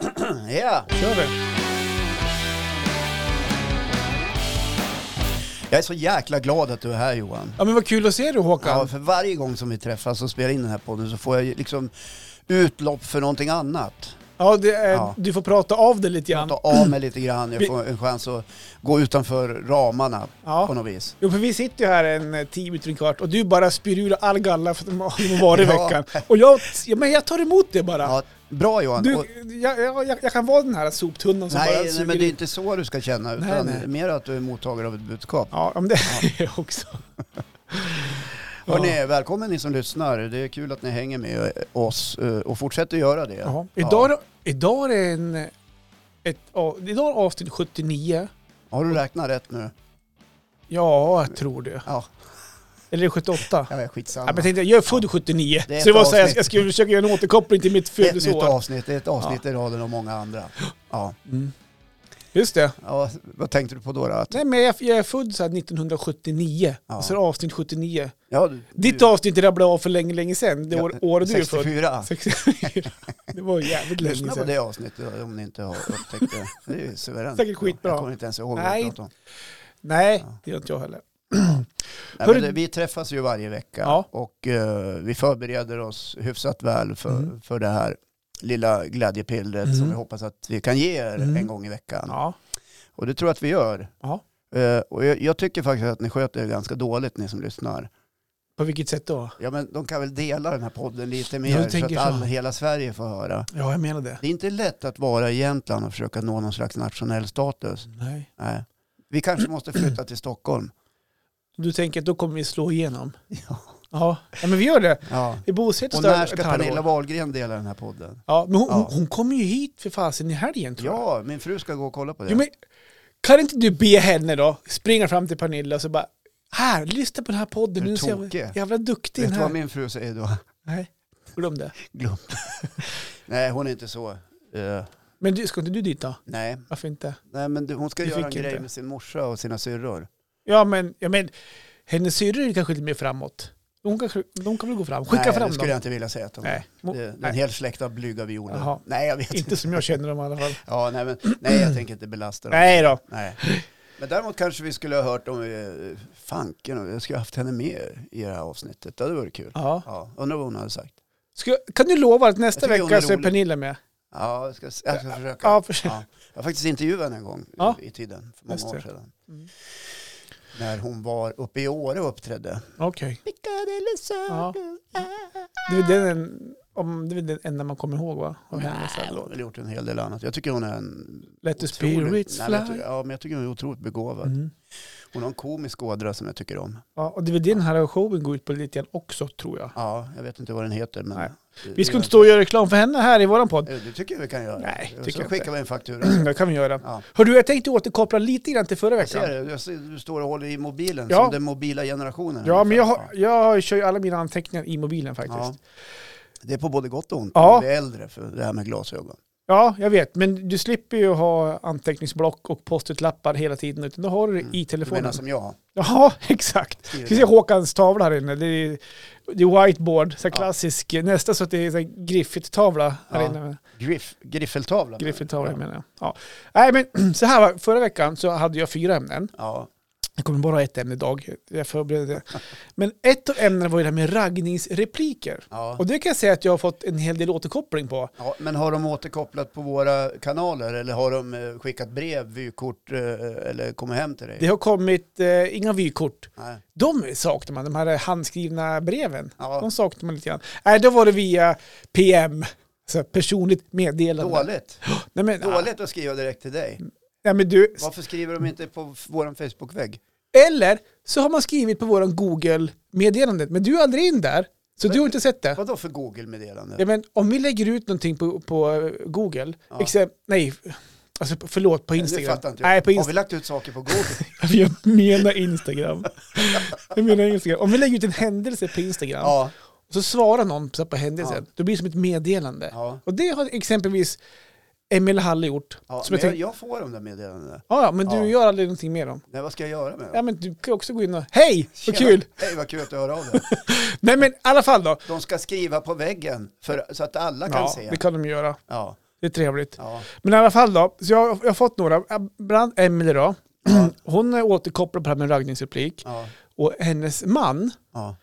Ja, Kör vi. jag är så jäkla glad att du är här Johan. Ja men vad kul att se dig Håkan. Ja, för varje gång som vi träffas och spelar in den här podden så får jag ju liksom utlopp för någonting annat. Ja, det är, Ja. du får prata av det lite grann. Ta av mig lite grann, jag Vi- får en chans att gå utanför ramarna på Ja. något vis. Jo, för vi sitter ju här en eh, tio minuter, en kvart och du bara spyr ur all galla för de har varit i Ja. veckan. Och jag, ja, men jag tar emot det bara. Ja, bra Johan. Du, Och- jag, jag, jag, jag kan vara den här soptunnan som bara nej, nej, suger men det är i. inte så du ska känna Nej, utan nej. mer att du är mottagare av ett budskap. Ja, men det är jag också. Ja. Hörrni, välkommen ni som lyssnar. Det är kul att ni hänger med oss eh, och fortsätter göra det. Ja. Ja. Idag, är- idag är det en... Ett, ja, idag är avsnitt 79. Har du räknat rätt nu? Ja, jag tror det. Ja, Eller är det 78? jag är Ja, skitsamma. men jag tänkte, jag är född 79, Det är så det ett var så här, jag, avsnitt. jag skulle försöka göra en återkoppling till mitt det är ett nytt födelseår. avsnitt, det är ett avsnitt i raden och många andra. Ja. Mm. Just det. Ja, vad tänkte du på då? då? Att, Nej, men jag, jag är född så här 1979, Ja. alltså avsnitt 79. ja, du, Ditt du- avsnitt rabblade av för länge, länge sedan, det år, året du är 64. född. 64. Det var ju jävligt länge Lyssna på sedan. det avsnittet om ni inte har upptäckt det. Det är ju suveränt. Säkert skitbra. Jag kommer inte ens ihåg vad Nej. jag pratade om. Nej, Ja. det gör inte jag heller. Nej, Hörru- men det, vi träffas ju varje vecka Ja. och eh, vi förbereder oss hyfsat väl för, Mm. för det här lilla glädjepillret Mm. som vi hoppas att vi kan ge er Mm. en gång i veckan. Ja. Och det tror jag att vi gör. Ja. Eh, och jag, jag tycker faktiskt att ni sköter er ganska dåligt ni som lyssnar. På vilket sätt då? Ja, men de kan väl dela den här podden lite du mer så att tänker så. all, hela Sverige får höra. Ja, jag menar det. Det är inte lätt att vara i Jämtland och försöka nå någon slags nationell status. Nej. Nej. Vi kanske måste flytta till Stockholm. Du tänker att då kommer vi slå igenom? Ja. Ja, ja men vi gör det. Ja. Vi bosätter Och oss när där ska ett halvår. Pernilla Wahlgren dela den här podden? Ja, men hon, Ja. hon- hon kommer ju hit för fasen i helgen tror jag. Ja, min fru ska gå och kolla på det. Jo, men, kan inte du be henne då springa fram till Pernilla och så bara här, lyssna på den här podden. Är du Nu ser tokig? jag jävla duktig Vet den du här. vad min fru säger då? Nej, glöm det. Glöm Nej, hon är inte så. Eh, Men du, ska inte du dit då? nej. Varför inte? nej, men du, hon ska Du göra en fick grej inte. med sin morsa och sina syrror. Ja, men, ja, men hennes syrror är kanske lite mer framåt. Hon kanske, de kan väl gå fram. Skicka nej, det fram dem. skulle jag inte vilja säga till honom. Nej, mo- Det, det är en nej. hel släkt av blyga violer. Jaha. Nej, jag vet inte. inte som jag känner dem i alla fall. Ja, nej, men, nej, jag tänker inte belasta dem. Nej då. Nej. Men däremot kanske vi skulle ha hört om eh, fanken. Jag skulle ha haft henne med i det här avsnittet. Det hade varit kul. Ja. Ja, undrar vad hon hade sagt. Ska, kan du lova att nästa Jag tycker hon vecka är så är rolig. Pernilla med? Ja, jag ska, jag ska försöka. Ja, för, Ja. Jag har faktiskt intervjuat henne en gång Ja. i tiden, för många Just år det. sedan. Mm. När hon var uppe i Åre och uppträdde. Okej. Piccadilly Ja. Circus. Det är väl den, om, det är väl den enda man kommer ihåg va? Av Nej, hennes hon alla har väl gjort en hel del annat. Jag tycker hon är en... Let the otrolig- spirits Nej, men jag fly. tycker- Ja, men jag tycker hon är otroligt begåvad. Mm. Hon har en komisk ådra som jag tycker om. Ja, och det är väl det den här showen går ut på lite grann också tror jag. Ja, jag vet inte vad den heter, men... Nej. det- det Vi ska gör inte stå och göra reklam för henne här i våran podd. Jo, Det tycker jag vi kan göra. Nej, Och tycker Så jag skickar inte. vi en faktura. Det kan vi göra. Ja. Hör du, jag tänkte återkoppla lite grann till förra Jag ser veckan. det. Jag ser, du står och håller i mobilen Ja. som den mobila generationen. Ja, men jag, har- Ja. jag kör ju alla mina anteckningar i mobilen faktiskt. Ja. Ja. Det är på både gott och ont. Ja. Ja. Vi är äldre för det här med glasögon. jag vet. Men du slipper ju ha anteckningsblock och post-it-lappar hela tiden. Utan då har du det Mm. i Du menar telefonen. som jag? Ja, exakt. skriver Vi ser Håkans tavla här inne. Det är, det är whiteboard, så här Ja. klassisk. Nästan så att det är så här Griffith-tavla här Ja. inne. Griff, griffeltavla. Griffith-tavla menar jag. Ja. Nej, men så här var, förra veckan så hade jag fyra ämnen. Ja, Det kommer bara ett ämne idag. Jag förberedde det. Men ett av ämnena var ju det här med raggningsrepliker. ja. Och det kan jag säga att jag har fått en hel del återkoppling på. ja. Men har de återkopplat på våra kanaler eller har de eh, skickat brev, vykort eh, eller kommit hem till dig? Det har kommit eh, inga vykort. Nej. De saknar man, de här handskrivna breven. Ja. De saknar man lite grann. Nej, då var det via PM. Så här personligt meddelande. Dåligt. Nej, men, Dåligt att skriva direkt till dig. Nej, men du, Varför skriver de inte på f- vår Facebook-vägg? eller så har man skrivit på våran Google-meddelandet, men du är aldrig in där. Så du har inte sett det. Vadå för Google-meddelande? Ja, men om vi lägger ut någonting på, på eh, Google, Ja. exem- nej, alltså, förlåt, på Det Instagram. fattar inte jag. Nej, på Har vi Instagram. lagt ut saker på Google? Jag menar Instagram. Jag menar Instagram. Om vi lägger ut en händelse på Instagram, ja. och så svarar någon så här på händelsen, då blir det som ett meddelande. ja. Och det har exempelvis Emil Halle gjort. ja. Men som jag jag, tänkte, jag får de där meddelandena. ja, ja, men du Ja. gör aldrig någonting med dem. Nej, vad ska jag göra med dem? Ja, men du kan ju också gå in och, hej, vad Tjena. kul! Hej, vad kul att du hör av dig. Nej men i alla fall då. De ska skriva på väggen för, så att alla kan Ja, se. det kan de göra. Ja. Det är trevligt. Ja. Men i alla fall då, så jag, jag har fått några. Bland Emelie då. Hon är återkopplad på det här med raggningsreplik. Ja. Och hennes man, Ja.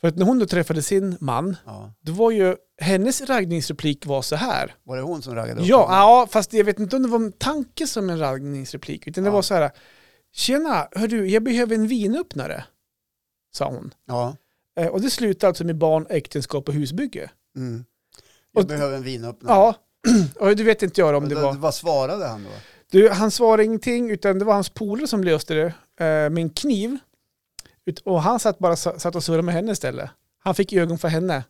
för att när hon då träffade sin man, Ja. det var ju, hennes raggningsreplik var så här. Var det hon som raggade upp Ja, honom? ja, fast jag vet inte om det var en tanke som en raggningsreplik, utan det Ja. var så här, tjena, hör du, jag behöver en vinöppnare, sa hon. ja. Eh, Och det slutade alltså med barn, äktenskap och husbygge. Mm. Jag Och- behöver en vinöppnare. Ja, och det vet inte jag om Men det då- var. Vad svarade han då? Du, han svarade ingenting, utan det var hans polare som löste det eh, med en kniv. Ut- Och han satt bara sa- satt och surrade med henne istället. Han fick ögon för henne.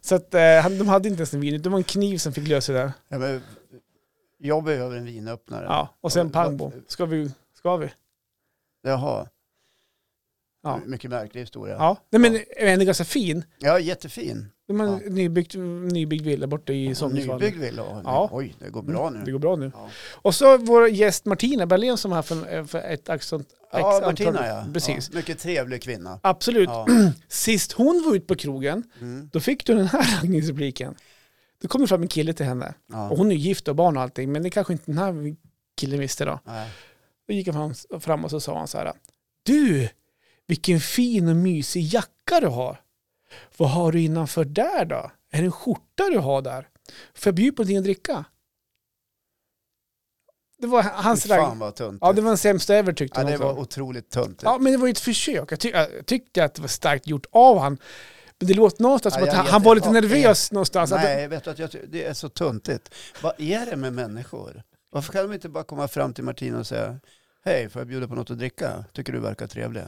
Så att, eh, han, de hade inte ens en vin, utan det var en kniv som fick lösa det. där. Ja, men, jag behöver en vinöppnare. Ja, och sen Ja, pang bom. vad- Ska vi? Ska vi? Jaha. Ja. Mycket märklig historia. Ja, Ja. Nej, men den är ganska fin. jättefin. De har en Ja. nybyggt, nybyggd villa borta i Och Sommersvallen. Nybyggd villa. Och- Ja. Mm. Oj, det går bra Det nu. går bra nu. Ja. Och så vår gäst Martina Berlén som var här för, för ett accent. Ja, ex- Martina antal- ja. Precis. Ja, mycket trevlig kvinna. Absolut. Ja. Sist hon var ute på krogen Mm. Då fick du den här raggningsrepliken. Då kom det fram en kille till henne. Och Ja. hon är ju gift och barn och allting, men det kanske inte den här killen visste då. Nej. Då gick han fram- fram och så sa han så här. Du, vilken fin och mysig jacka du har. Vad har du innanför där då? Är det en skjorta du har där? Får jag bjuda på någonting att dricka? Det var hans Fy Fan ragg. vad tunt. Ja, det var den sämsta alltså. ever tyckte ja, hon det också. var otroligt tunt. Ja, men det var ju ett försök. Jag, ty- jag tyckte att det var starkt gjort av han. Men det låter någonstans Ja, som jag att han, vet han inte. var lite Ja, nervös någonstans. Att, Nej, vet du att jag, ty- det är så tuntigt. Vad är det med människor? Varför kan de inte bara komma fram till Martina och säga Hej, får jag bjuda på något att dricka? Tycker du verkar trevlig?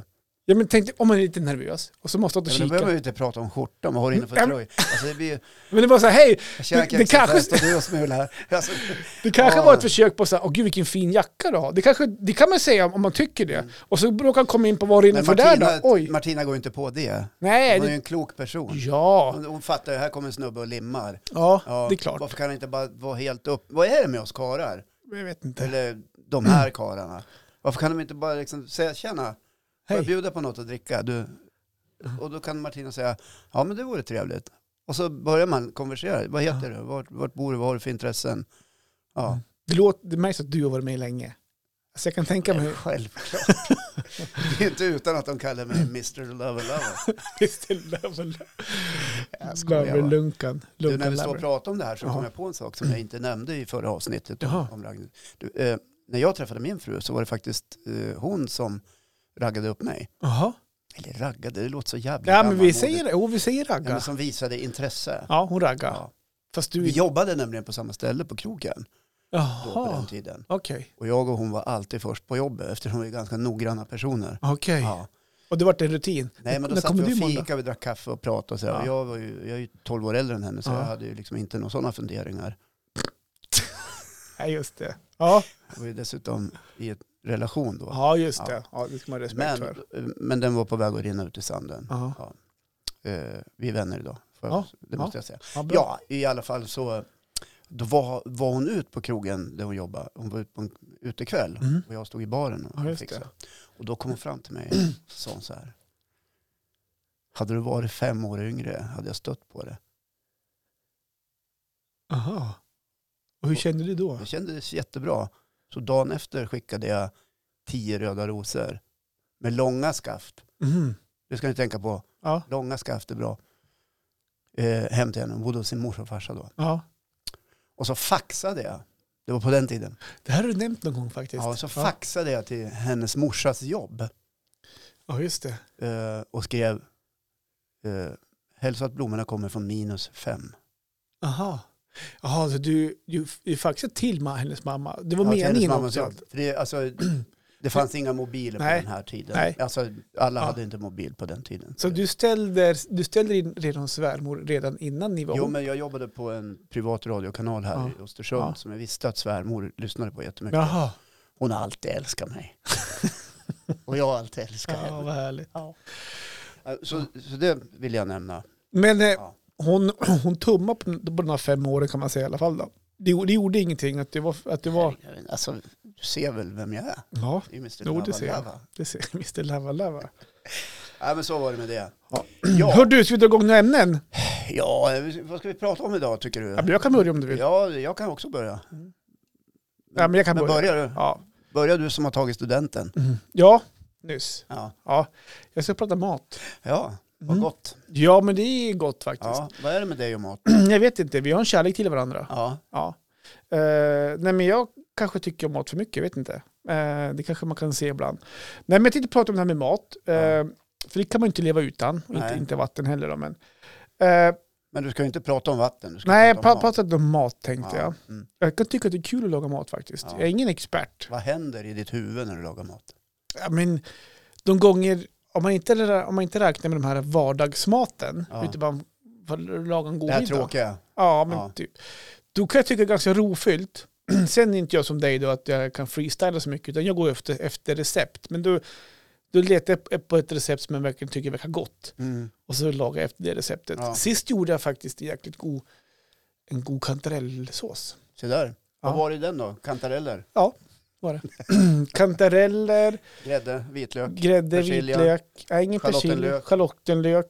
Ja, ja, men tänk dig om man är lite nervös och så måste man men åt då och kika. behöver man ju inte prata om skjorta, man har innanför Ja, tröjan. Alltså det blir ju... Men det var så här, hej, Jag käkar Det- det kanske- extra fest och du och smula här. Alltså, det kanske Ja. var ett försök på så här, åh gud vilken fin jacka du har. Det, kanske, det kan man säga om man tycker det. Och så råkar han komma in på vad det är Mm. men innanför där då. Martina, Oj, Martina går ju inte på det. nej. Hon är ju Det, en klok person. ja, Hon, hon fattar ju, här kommer en snubbe och limmar. ja, Ja, det är klart. Varför kan det inte bara vara helt upp? Vad är det med oss karlar? Jag vet inte. Eller de här karlarna. Varför kan de inte bara liksom säga, tjena, får jag Hej. bjuda på något att dricka? Du. Och då kan Martina säga, ja men det vore trevligt. Och så börjar man konversera. Vad heter du? Vart, vart bor du? Vad har du för intressen? Ja, Det, låter, det märks att du har varit med länge. Alltså jag kan tänka mig, självklart. det är inte utan att de kallar mig Mr. Lover Lover. visst är Lövel- Jag skojar bara. Lövel-lunkan. Du, när vi står och Lunkan-Lövel. pratar om det här så kom Jaha. jag på en sak som jag inte nämnde i förra avsnittet. Om, Jaha. om raggning. du, eh, när jag träffade min fru så var det faktiskt eh, hon som raggade upp mig. Jaha. Eller raggade, det låter så jävla Ja, men vi gammalmodigt. säger, jo, vi säger ja, men ragga. Som visade intresse. Ja, hon raggar. Ja. Fast Vi du... jobbade nämligen på samma ställe på krogen då, på den Jaha, tiden. okej. Och jag och hon var alltid först på jobbet eftersom vi är ganska noggranna personer. Okej. Ja. Och det vart en rutin? Nej, men då När satt kommer vi och du imorgon då? fika, vi drack kaffe och pratade. Och så Ja. och jag, var ju, jag är ju 12 år äldre än henne så Ja. jag hade ju liksom inte några sådana funderingar. Ja, just det. Ja, Jag var ju dessutom i en relation då. ja just Ja. det. Ja, det ska man ha respekt Men, för. men den var på väg att rinna ut i sanden. Ja. Eh, vi är vänner idag. Får jag, Ja, Det ja. måste jag säga. Ja, bra. Ja, i alla fall så då var, var hon ut på krogen där hon jobbade. Hon var ute på en utekväll Mm. och jag stod i baren och Ja, just fixade. det. Och då kom hon fram till mig och sa hon så här. Hade du varit fem år yngre hade jag stött på det. Aha. Och hur kände du då? Jag kände det jättebra. Så dagen efter skickade jag tio röda rosor med långa skaft. Mm. Det ska ni tänka på. Ja, Långa skaft är bra. Eh, hem till henne. Hon bodde hos sin mors och farsa då. ja. Och så faxade jag. Det var på den tiden. Det här har du nämnt någon gång faktiskt. Ja, så faxade jag till hennes morsas jobb. Ja, just det. Eh, och skrev eh, hälsa att blommorna kommer från minus fem. Aha. Jaha, så du, du, du faxade till ma- hennes mamma. Det var Ja, till hennes meningen mamma också. och så. För det, alltså, det fanns inga mobiler Nej. på den här tiden. Nej. Alltså, alla Ja. hade inte mobil på den tiden. Så du ställde, du ställde in redan svärmor redan innan ni var Jo, ihop? men jag jobbade på en privat radiokanal här Ja. i Östersund Ja. som jag visste att svärmor lyssnade på jättemycket. Jaha. Hon har alltid älskat mig. och jag har alltid älskat Ja, henne. Äh, vad härligt. Så, så det vill jag nämna. Men eh, Ja. hon, hon tummar på, på de här fem åren kan man säga i alla fall. Då. Det, det gjorde ingenting att det var... Att det var Herregud, Alltså, du ser väl vem jag är? ja, Det är ju Mr. Jo, det ser jag. Lavalava. det ser Mr Lava Lava. Nej, Äh, men så var det med det. Ja. Hör Ja, du, ska vi dra igång några ämnen? ja, vad ska vi prata om idag tycker du? Ja, men jag kan börja om du vill. Ja, jag kan också börja. Ja, men jag kan Men börja. börjar du? Ja. Börjar du som har tagit studenten? Mm. ja, nyss. Ja, Ja. Jag ska prata mat. ja vad Mm. gott. Ja, men det är gott faktiskt. Ja, vad är det med dig och mat? Jag vet inte, vi har en kärlek till varandra. Ja, Ja. Eh, nej, men jag kanske tycker om mat för mycket, jag vet inte. Eh, det kanske man kan se ibland. Nej, men jag tänkte prata om det här med mat. Eh, Ja. För det kan man ju inte leva utan, och inte, Nej. inte vatten heller. Då, men. Eh, men du ska ju inte prata om vatten. Du ska nej, prata om jag mat. pratade om mat tänkte jag. Mm. Jag kan tycka att det är kul att laga mat faktiskt. Ja. Jag är ingen expert. Vad händer i ditt huvud när du lagar mat? Ja, men de gånger, om man inte, rä- om man inte räknar med de här vardagsmaten, Ja. utan bara vad- laga en god Det här middag. tråkiga. Ja, men Ja. typ. Då kan jag tycka det är ganska rofyllt. Sen är inte jag som dig då att jag kan freestyla så mycket, utan jag går efter, efter recept. Men då, då letar jag på ett recept som jag verkligen tycker verkar gott. Mm. Och så lagar jag efter det receptet. Ja. Sist gjorde jag faktiskt jäkligt god, en god kantarellsås. Se där. Vad Ja. var det i den då? Kantareller? Kantareller, Grädde? Vitlök? grädde, Persilja. vitlök, nej, ingen persilja, Schalottenlök.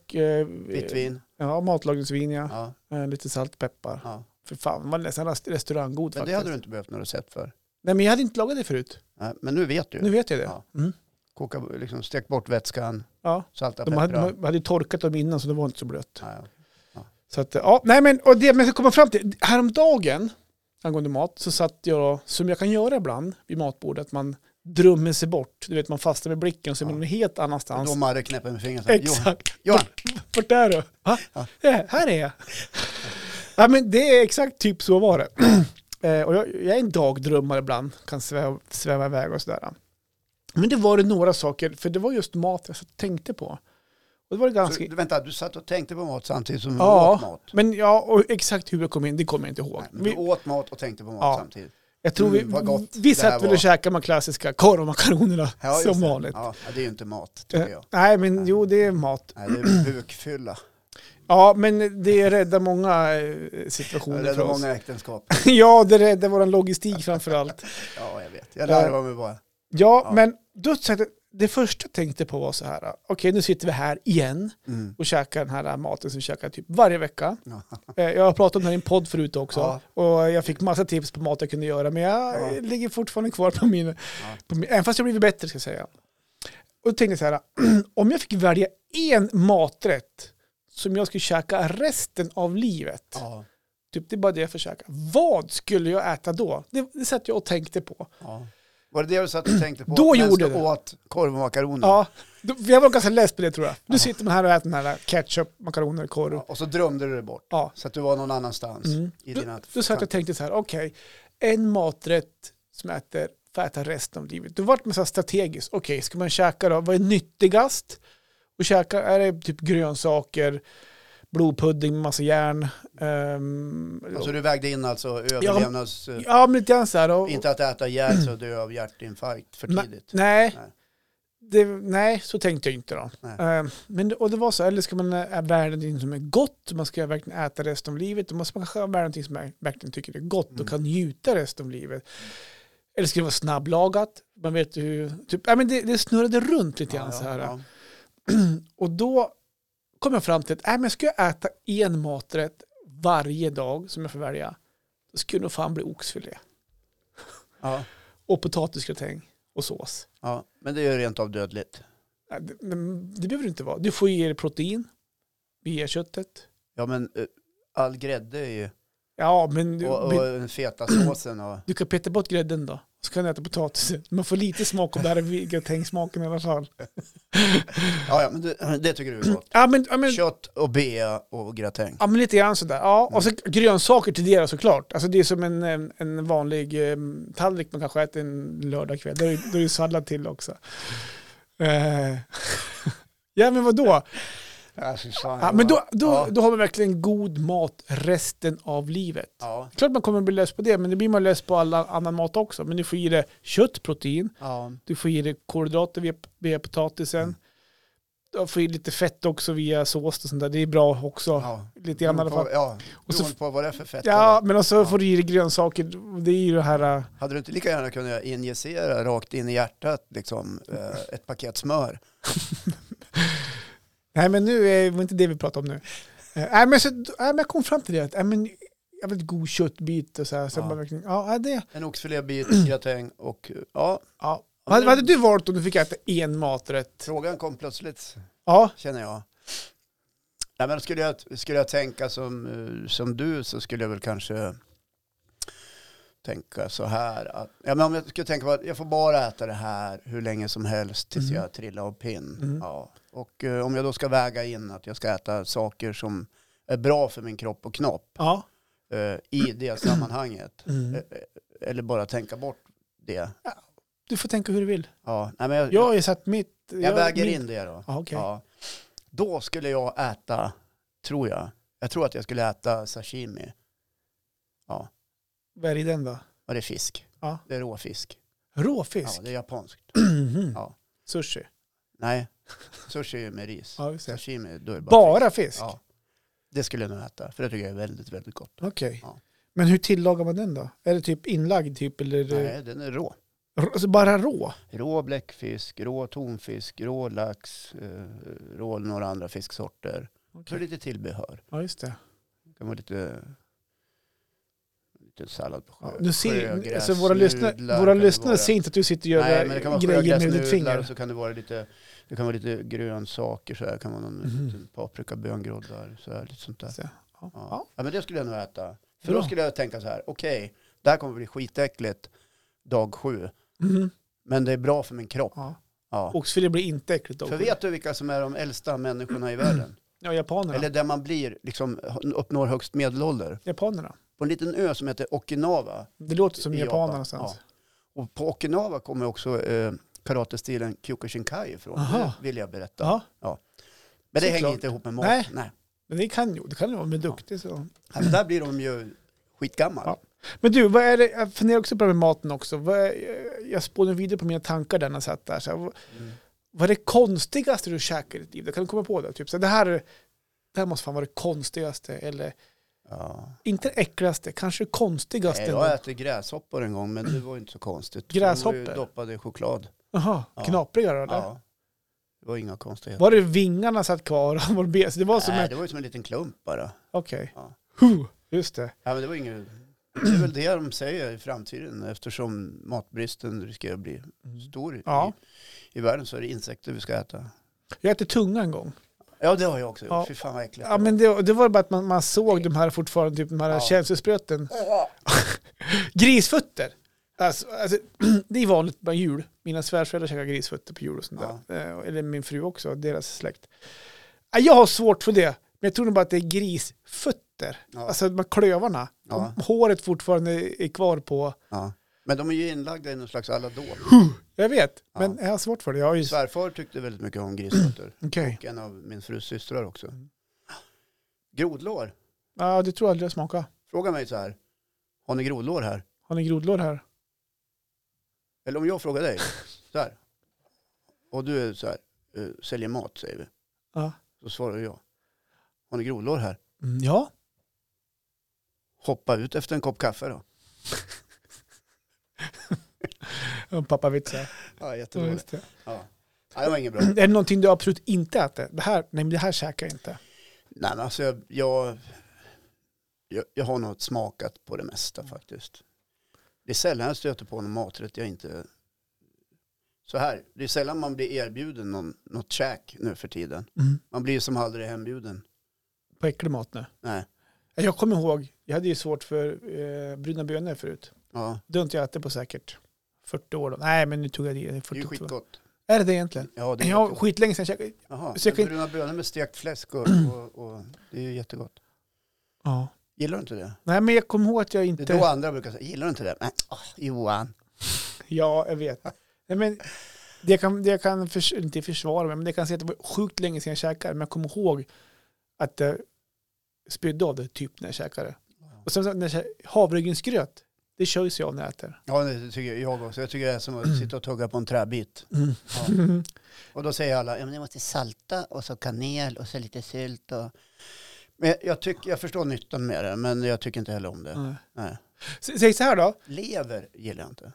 schalottenlök, eh, Vitt vin? ja, matlagningsvin, ja. Ja, Eh, lite salt, peppar. ja. För fan, var nästan rest- restauranggod Men det faktiskt. hade du inte behövt något recept för. Nej, men jag hade inte lagat det förut. Nej, men nu vet Nu du. vet jag det. Ja. Mm. Koka, liksom, stek bort vätskan, Ja. salta, De peppra. hade, de hade ju torkat dem innan så det var inte så blött. Ja, ja. Så att, ja, nej men, och det man ska komma fram till, häromdagen, angående mat, så satt jag då, som jag kan göra ibland vid matbordet, att man drömmer sig bort. Du vet, man fastnar med blicken och så är man Ja. någon helt Och annanstans. Då Marre knäpper med fingret. så här, Johan, Exakt. Johan, Vart är du? Va? Ja. Ja, här är jag. ja, men det är exakt typ så var det. Eh, och jag, jag är en dagdrömmare ibland, kan sväva, sväva iväg och sådär. Men det var det några saker, för det var just mat jag satt och tänkte på. Och det var det Så, ganska... du, vänta, du satt och tänkte på mat samtidigt som du Ja. åt mat. Men ja, och exakt hur det kom in, det kommer jag inte ihåg. Nej, men du Vi, åt mat och tänkte på mat Ja. samtidigt. jag tror vi, Mm, vad gott vi det här satt väl var. och käkade de klassiska korv och makaronerna Ja, just som det. vanligt. Ja, det är ju inte mat, Eh, tycker jag. Nej, men jo, det är mat. Nej, det är bukfylla. Ja, men det räddar många eh, Jag situationer för räddar oss. många äktenskap. Ja, det räddar vår logistik framför allt. Ja, jag vet. Jag larvar mig bara. Ja, Ja. men då, sa jag- det första jag tänkte på var så här, okej nu sitter vi här igen Mm. och käkar den här maten som vi käkar typ varje vecka. Ja. Eh, Jag har pratat om det här i en podd förut också Ja. och jag fick massa tips på mat jag kunde göra men jag Ja. eh, ligger fortfarande kvar på min, på min, även fast jag blivit bättre ska jag säga. Och då tänkte jag så här, om jag fick välja en maträtt som jag skulle käka resten av livet, Ja. typ det är bara det jag får käka, vad skulle jag äta då? Det, det satt jag och tänkte på. Ja. Var det det du satt och tänkte på? Då medan gjorde du det. åt korv och makaroner. Ja, då- jag var ganska less på det tror jag. Nu sitter man här och äter den här ketchup, makaroner, korv. Ja, Och så drömde du det bort. Ja. Så att du var någon annanstans. Mm. I dina Då satt jag och tänkte så här, okej, en maträtt som jag äter får jag äta resten av livet. Då vart man så här strategisk, okej, ska man käka då, vad är nyttigast? Och käka, är det typ grönsaker, blodpudding med massa järn? ehm, Alltså du vägde in alltså överlevnads... eh, ja, men lite grann så här. Och, Inte att äta ihjäl sig och dö av hjärtinfarkt för Nej, tidigt. Nej. Nej. Det, nej, så tänkte jag inte då. Nej. Eh, men, det- och det var så, eller ska man äh, välja någonting som är gott, man ska verkligen äta resten av livet, då måste man kanske välja någonting som man verkligen tycker är gott och Mm. kan njuta resten av livet. Eller ska det vara snabblagat? Man vet ju hur, typ, nej, men det, det snurrade runt lite grann så här. Och då kom jag fram till att, nej men ska jag äta en maträtt varje dag som jag får välja, då skulle det nog fan bli oxfilé. Ja, Och potatisgratäng och sås. ja. Men det är ju rent av dödligt. Ja, Det, men det behöver det inte vara. Du får ge det protein via köttet. Ja men eh, all grädde är ju... Ja, men du, Och, och men den feta såsen och... du kan peta bort grädden då. Så kan du äta potatisen. Man får lite smak av det här gratängsmaken i alla fall. Ja, ja men det, det tycker du är gott. Ja, men, ja, men, Kött och bea och gratäng. ja, men lite grann sådär. Ja, och så Mm. grönsaker till det då, såklart. Alltså det är som en, en, en vanlig eh, tallrik man kanske äter en lördagkväll. Då är då är det ju sallad till också. Eh, ja, men vadå? Ja, fy fan, Ja, men då, då, Ja. då har man verkligen god mat resten av livet. Ja, Klart man kommer bli less på det, men det blir man less på all annan mat också. Men du får i dig kött, protein, ja. du får i dig kolhydrater via, via Mm. potatisen, du får i lite fett också via sås och sånt där. Det är bra också, ja. lite grann i alla Beroende fall. på- Ja, Och så- beroende på vad det är för fett. Ja, men också Ja. får du i dig grönsaker. Det är ju det här... äh, Hade du inte lika gärna kunnat injicera rakt in i hjärtat liksom, eh, ett paket smör? Nej, men nu är det inte det vi pratar om nu. Eh, Nej, men, så, nej, men jag kom fram till det. att, Nej, men, jag vill god köttbit och så här. Så Ja. ja. Bara, verkligen, ja, nej, det. En oxfilébit, gratäng och ja, Ja. men Vad, det- vad hade du valt om du fick äta en maträtt? frågan kom plötsligt Ja, känner jag. Nej, men skulle, jag, skulle jag tänka som, eh, som du så skulle jag väl kanske tänka så här. Att, ja, men om jag skulle tänka på att jag får bara äta det här hur länge som helst tills Mhm. jag trillar av pinn. Mhm. Ja. Och eh, om jag då ska väga in att jag ska äta saker som är bra för min kropp och knopp ja. eh, i det sammanhanget. Mm. Eh, eh, Eller bara tänka bort det. Du får tänka hur du vill. Ja, nej, men jag, Jag jag, har ju satt mitt... väger in det då. Ja, okej. Ja. Då skulle jag äta, tror jag, jag tror att jag skulle äta sashimi. Vad är det i den då? Och det är fisk. Ja. Det är råfisk. Råfisk? Ja, det är japanskt. Mhm. Ja. Sushi? Nej, sushi är ju med ris. Ja, just det. Sashimi, då är det bara, Bara fisk? Ja. Det skulle jag nog äta, för det tycker jag är väldigt, väldigt gott. Okej. Ja. Men hur tillagar man den då? Är det typ inlagd typ eller? Nej, den är rå. R- Alltså bara rå? Rå bläckfisk, rå tonfisk, rå lax, eh, rå några andra fisksorter. Så lite tillbehör. Ja, just det. Det kan vara lite, lite sallad på sjö, Ja, nu ser, sjögräs, alltså våra nudlar lyssnare, kan våra det lyssnare vara. ser inte att du sitter och gör Nej, men det kan vara grejer med ditt sjögräsnudlar och finger. så kan det vara lite, det kan vara lite grönsaker så här, kan vara någon Mhm. liten paprika, böngroddar, så här, lite sånt där. Så, ja. Ja. Ja. ja, men det skulle jag nog äta. För då Bra. skulle jag tänka så här, okej, det här kommer bli skitäckligt dag sju, Mhm. men det är bra för min kropp. Ja. Ja. Oxfilé blir inte äckligt då. För vet du vilka som är de äldsta människorna i världen? Ja, japanerna. Eller där man blir, liksom uppnår högst medelålder? Japanerna. På en liten ö som heter Okinawa. Det låter som i japaner Japan. någonstans. Ja. Och på Okinawa kommer också eh, karatestilen Kyokushinkai ifrån, Aha. det vill jag berätta. Ja. Men det hänger Såklart. inte ihop med mat. Nej. Nej. Men det kan ju, det kan ju vara, men duktig så. Alltså, där blir de ju skitgammal. Ja. Men du, vad är det, jag funderar också på det här med maten också. Vad är, jag spånade vidare på mina tankar där när jag satt där. Så här, vad- Mm. Vad är det konstigaste du käkar i ditt liv? Det kan du komma på det. Typ så här, det här, det här måste fan vara det konstigaste. Eller Ja. inte det äckligaste, kanske det konstigaste. Nej, jag äter gräshoppor en gång, men det var ju inte så konstigt. De var Gräshoppor? ju doppade i choklad. Jaha, Ja. knapriga då eller? Ja. Det var inga konstigheter. Var det vingarna satt kvar? Var det bes- det var som Nej, en... det var ju som en liten klump bara. Okej. Ja. Huh, Just det. Ja, men det var inget... Det är väl det de säger i framtiden eftersom matbristen riskerar att bli stor i- Mm. Ja. i, i världen så är det insekter vi ska äta. Jag äter tunga en gång. Ja, det har jag också gjort. Ja. Fy fan vad äckligt. Ja, men det, det var bara att man, man såg de här fortfarande, typ de här Ja. känselspröten. Grisfötter! Alltså, alltså, det är vanligt bland jul. Mina svärföräldrar käkar grisfötter på jul och sånt där. Eh, Eller min fru också, deras släkt. Ah, Jag har svårt för det, men jag tror nog bara att det är grisfötter. Ja. Alltså de här klövarna. Ja. Om Håret fortfarande är kvar på... Ja. men de är ju inlagda i någon slags Mm. aladol. Jag vet, Ja. men jag har svårt för det. Jag har ju... Svärfar tyckte väldigt mycket om grisfötter. Okej. Och en av min frus systrar också. Grodlår. Ja, det tror jag aldrig jag smakar. Fråga mig så här. Har ni grodlår här? Har ni grodlår här? Eller om jag frågar dig. Så här. Och du är så här. eh, Säljer mat säger vi. Ja. Så svarar jag. Har ni grodlår här? Mm, ja. Hoppa ut efter en kopp kaffe då. En Pappavits. ja. Ja, Ja, jättedåligt. just det. Ja. Nej, det var inget bra. Är det någonting du absolut inte äter? Det här, nej, men det här käkar jag inte. Nej, men alltså jag, jag, jag, jag har nog smakat på det mesta faktiskt. Det är sällan jag stöter på någon maträtt jag inte... Så här, det är sällan man blir erbjuden någon, något käk nu för tiden. Mm. Man blir ju som aldrig hembjuden. På äcklig mat nu. Nej. Jag kommer ihåg, jag hade ju svårt för eh, bruna bönor förut. Ja, Det har inte jag ätit på säkert 40 år. Då. Nej, men nu tog jag det. i det är 42. ju skitgott. Är det det egentligen? Ja, det är Jag har jättegott. skitlänge sedan jag käkade. Jaha, så jag kan- bruna bönor med stekt fläsk och, och, och det är ju jättegott. Ja. Gillar du inte det? Nej, men jag kommer ihåg att jag Det inte... är då andra brukar säga, gillar du inte det? Nej, åh, Johan. Ja, jag vet. Nej, men det jag kan, det jag kan förs- inte försvara mig, men det kan säga att det var sjukt länge sedan jag käkade, men jag kommer ihåg att jag spydde av det typ när jag käkade. Och sen så när jag kä- havregrynsgröt, det körs jag av när jag äter. Ja, det tycker jag också. Jag tycker det är som att sitta och tugga på en träbit. Ja. Och då säger alla, ja men ni måste salta och så kanel och så lite sylt och... Men jag, jag, tycker, jag förstår nyttan med det, Mm. men jag tycker inte heller om det. Ja. Nej. S- Säg så här då, Lever gillar jag inte.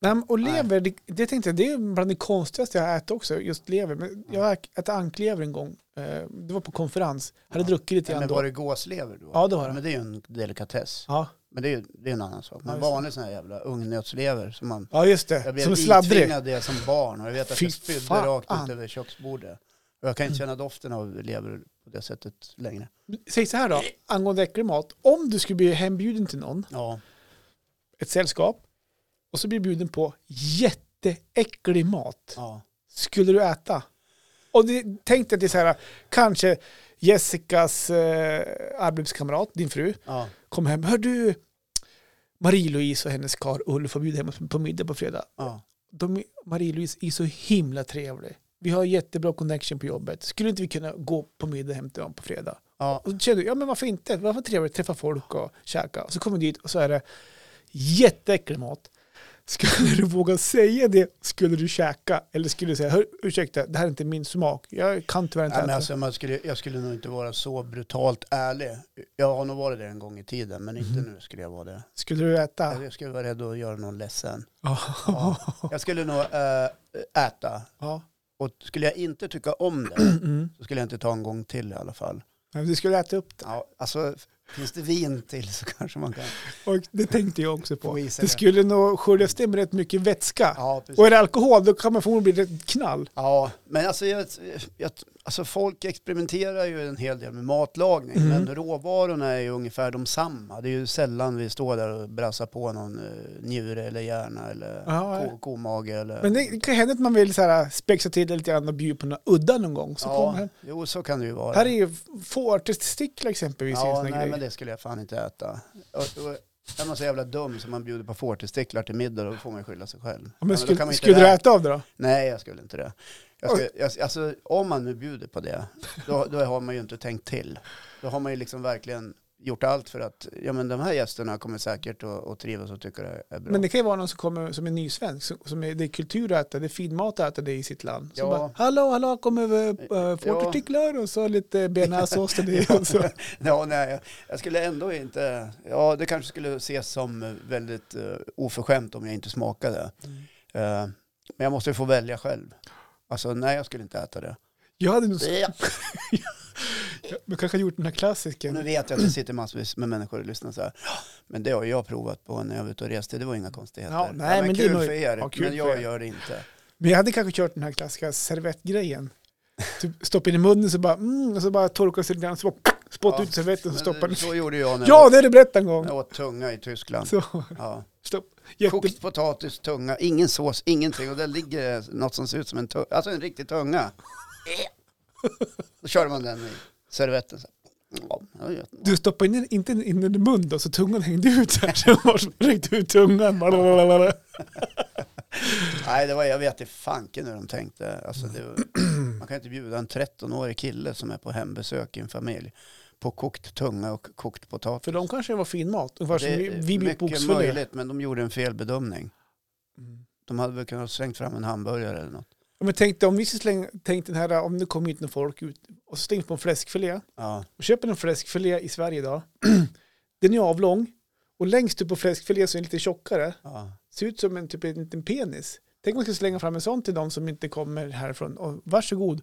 Nej, men- och Nej. lever, det, det tänkte jag, det är bland det konstigaste jag har ätit också, just lever. Mm. Men jag äter anklever en gång, eh, det var på konferens, hade Ja. druckit lite Ja, grann men då. var det gåslever då? Ja, det var det. Men det är ju en delikatess. Ja. Men det är ju det är en annan sak. Ja, Men just det. vanlig sån här jävla ungnötslever som man... ja, just Jag det, blev som en sladdrig. itvingad det som barn och jag vet att Fy jag spydde fan. Mm. rakt ut över köksbordet. Och jag kan inte känna doften av lever på det sättet längre. Säg så här då, angående äcklig mat, om du skulle bli hembjuden till någon, Ja, ett sällskap, och så blir du bjuden på jätteäcklig mat, ja. skulle du äta? Och det, tänk dig att det är så här, kanske Jessicas eh, arbetskamrat, din fru, ja. kom hem, hör du, Marie-Louise och hennes karl Ulf har bjudit hem oss på middag på fredag. ja. De, Marie-Louise är så himla trevlig. Vi har jättebra connection på jobbet. Skulle inte vi kunna gå på middag hem till dem på fredag? ja. Och då kände jag, ja men varför inte? Varför trevligt att träffa folk och käka? Och så kommer vi dit och så är det jätteäcklig mat. Skulle du våga säga det? Skulle du käka? Eller skulle du säga, "Hör, ursäkta, det här är inte min smak. Jag kan tyvärr inte Nej, men äta. alltså, man skulle, jag skulle nog inte vara så brutalt ärlig. Jag har nog varit det en gång i tiden, men inte nu skulle jag vara det. Skulle du äta? Jag skulle vara rädd att göra någon ledsen. Ja. Jag skulle nog eh, äta. ja. Och skulle jag inte tycka om det Mm. så skulle jag inte ta en gång till i alla fall. Men Du skulle äta upp det. Ja, alltså, finns det vin till så kanske man kan Och det tänkte jag också på. få i sig Det skulle nog sköljas in med rätt mycket vätska. Ja, precis. Och är det alkohol då kan man förmodligen bli rätt knall. Ja, men alltså, jag, jag, alltså folk experimenterar ju en hel del med matlagning, Mm. men råvarorna är ju ungefär de samma. Det är ju sällan vi står där och brassar på någon eh, njure eller hjärna eller Ja, ko, komage eller... Men det kan hända att man vill så här, äh, spexa till det lite grann och bjuda på några udda någon gång. Så kommer ja, han. jo, så kan det ju vara. Här är ju fårtestiklar exempelvis. i en ja, sån här nej, grej. men det skulle jag fan inte äta. Och, och, är man så jävla dum som man bjuder på fårtestiklar till middag, då får man ju skylla sig själv. Ja, då ja, men kan skulle man inte skulle du räkna- äta av det då? Nej, jag skulle inte det. Jag skulle, jag, alltså, om man nu bjuder på det, då, då har man ju inte tänkt till. Då har man ju liksom verkligen gjort allt för att ja, men de här gästerna kommer säkert att att trivas och tycka det är bra. Men det kan ju vara någon som kommer som är nysvensk, som, som är, det är kultur att äta, det är fin mat att äta det i sitt land. Som Ja. bara, hallå, hallå, kommer äh, fårtestiklar och så lite bearnaisesås till det. alltså- Och så. ja, nej, jag, jag skulle ändå inte... Ja, det kanske skulle ses som eh, väldigt uh, oförskämt om jag inte smakade. Mm. Eh, men jag måste ju få välja själv. Alltså nej, jag skulle inte äta det. Jag hade nog, Ja. man kanske gjort den här Och nu klassiken. vet jag att det sitter massvis med människor och lyssnar så här. "Ja, Men det har jag provat på när jag var ute och reste. Det var inga konstigheter. Ja, nej, men det är kul nog- för er, ja, kul men för jag er. gör det inte. Men jag hade kanske kört den här klassiska servettgrejen. Typ stoppa in i munnen så bara, mm, och så bara torka sig lite grann, så bara spotta Ja, ut servetten och Men stoppa den. Så gjorde jag när Ja, jag, det har du berättat åt, en gång. när jag åt tunga i Tyskland. Så, Ja. stopp. Jätte, Kokt potatis, tunga, ingen sås, ingenting. Och där ligger det något som ser ut som en tunga, alltså en riktig tunga. Då körde man den i servetten. Så. här. Ja, det var ju- Du stoppade in, den- inte in den i munnen då, så tungan hängde ut här. Så var- räckte ut tungan. Blablabla. Nej, det var, jag vet inte fanken hur de tänkte. Alltså, det, var- man kan inte bjuda en 13-årig kille som är på hembesök i en familj på kokt tunga och kokt potatis. För de kanske var fin mat. Ungefär som det vi, vi bjöd på mycket oxfilé. möjligt, men de gjorde en felbedömning. Mm. De hade väl kunnat slängt fram en hamburgare eller något. Ja, Men tänk dig om vi skulle slänga, tänk den här, om det kom hit några folk ut och så slängde på en fläskfilé. Ja, Och köper en fläskfilé i Sverige idag. den är avlång och längst upp på fläskfilén så är den lite tjockare. ja. Ser ut som en typ en liten penis. Tänk om man skulle slänga fram en sån till de som inte kommer härifrån. Och varsågod.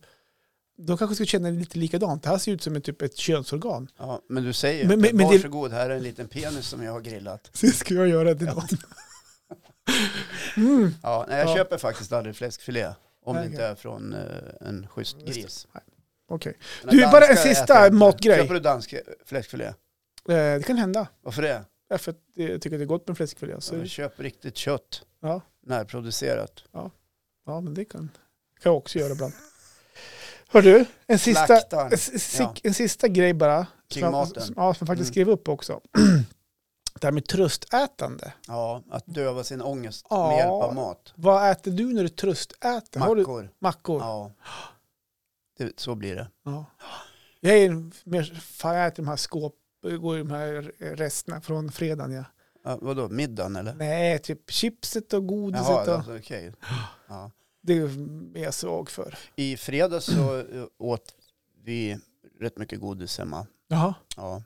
De kanske skulle känna lite likadant. Det här ser ut som en, typ ett könsorgan. ja men du säger Men- men, men- men det- varsågod, här är en liten penis som jag har grillat. Så ska jag göra det någon. Mm. Ja, nej, jag Ja. köper faktiskt aldrig fläskfilé. Om Nej, det inte okej. är från eh, en schysst Just det. gris. Okej. Men Du, bara en danskar sista äter inte. matgrej. Köper du dansk fläskfilé? Eh, Det kan hända. Varför det? Ja, För att jag tycker att det är gott med fläskfilé. Ja, Så, men köp riktigt kött. ja, Närproducerat. ja, men det kan, kan jag också göra ibland. Hör du, en sista, Slaktar. en, si- en sista grej bara. Kring som jag- maten. Som, ja, som jag faktiskt Mm. skrev upp också. det här med tröstätande. Ja, att döva sin ångest Ja. med hjälp av mat. Vad äter du när du tröstäter? Har du Mackor. mackor? Ja. Det, så blir det. Ja. Jag är en- mer, fan jag äter de här skåp, går i de här resterna från fredagen ja. Ja, vadå, middagen eller? Nej, typ chipset och godiset Jaha, och, alltså, okej. Ja. det är jag svag för. I fredags så eh, åt vi rätt mycket godis hemma. Jaha, Ja.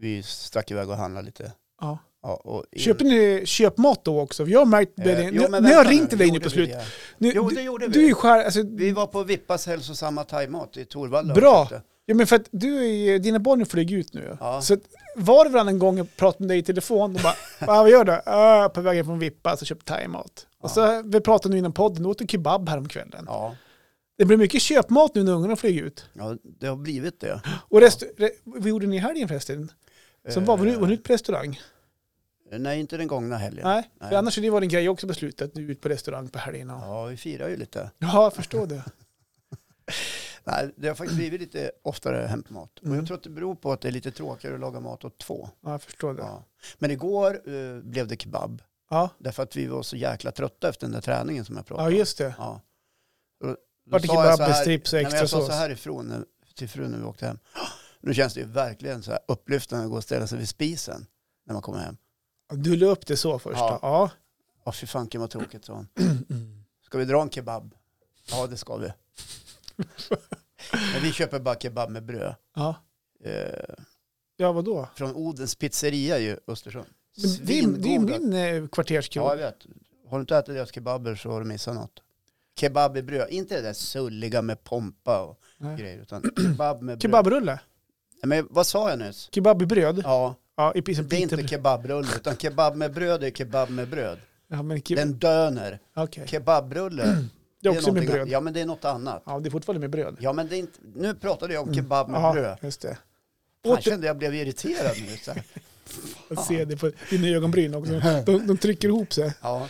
Vi stack iväg och handlade lite. ja. Ja, och in- Köper ni köpmat då också? Jag har märkt, Eh, Benny, jo, nu- men när jag vänta ringt till dig nu gjorde på vi slut. det? Nu, Jo, du- det gjorde Du är vi. ju skär, alltså, Vi var på Vippas hälsosamma thaimat i Torvalla. och Bra. köpte. ja, men för att du är, ju- dina barn flyger ut nu. Ja. Så att var och varannan gång jag pratade med dig i telefon, och bara, "Ah, vad gör du? "Ah, på vägen från Vippa, så köpte thaimat. Och så, vi pratade nu innan podden, åt en kebab häromkvällen. Ja. Det blir mycket köpmat nu när ungarna flyger ut. ja, det har blivit det. Och rest, re, vad gjorde ni i helgen förresten? Som var, var, ni, var ni ute på restaurang? Nej, inte den gångna helgen. Nej, för Eh, nej. annars är det var en grej också beslutat, att du är ute på restaurang på helgerna. Ja, Ja, vi firar ju lite. jag förstår det. Nej, det har faktiskt blivit lite oftare hämtmat. Och Mm. jag tror att det beror på att det är lite tråkigare att laga mat åt två. Ja, jag förstår det. Ja. Men igår eh, blev det kebab. Ja, Därför att vi var så jäkla trötta efter den där träningen som jag ja pratade om. just det. Ja. Och då Vart det sa jag så kebab, här- strips och nej, men extra Jag sa sås? så här ifrån när- till frun när vi åkte hem. Nu känns det ju verkligen så här upplyftande att gå och ställa sig vid spisen när man kommer hem. Du la upp det så först. Ja. Ja. ja. Ja, fy fanken vad tråkigt, sa hon. Mm. Ska vi dra en kebab? Ja, det ska vi. Men vi köper bara kebab med bröd. ja. Eh, Ja, vadå? från Odens pizzeria i Östersund. Men Det är, det är Svingoda. min eh, Ja, jag kvarterskrog. vet. Har du inte ätit deras kebaber så har du missat något. Kebab i bröd, inte det där sulliga med pompa och Nej. grejer, utan kebab med bröd. Kebabrulle? Nej, Men vad sa jag nyss? Kebab i bröd? Ja, Ja, i pizza. det är inte kebabrulle, utan kebab med bröd är kebab med bröd. Ja, men Det är ke- en döner. okej. Kebabrulle, Det är också med någonting- bröd. Ja, men det är något annat. Ja, det är fortfarande med bröd. Ja, men det är inte... Nu pratade jag om kebab med bröd. Mm. Ja, just det. Jag Åter kände jag blev irriterad nu. Så här. att se det på dina ögonbryn också. De, de trycker ihop sig. Ja.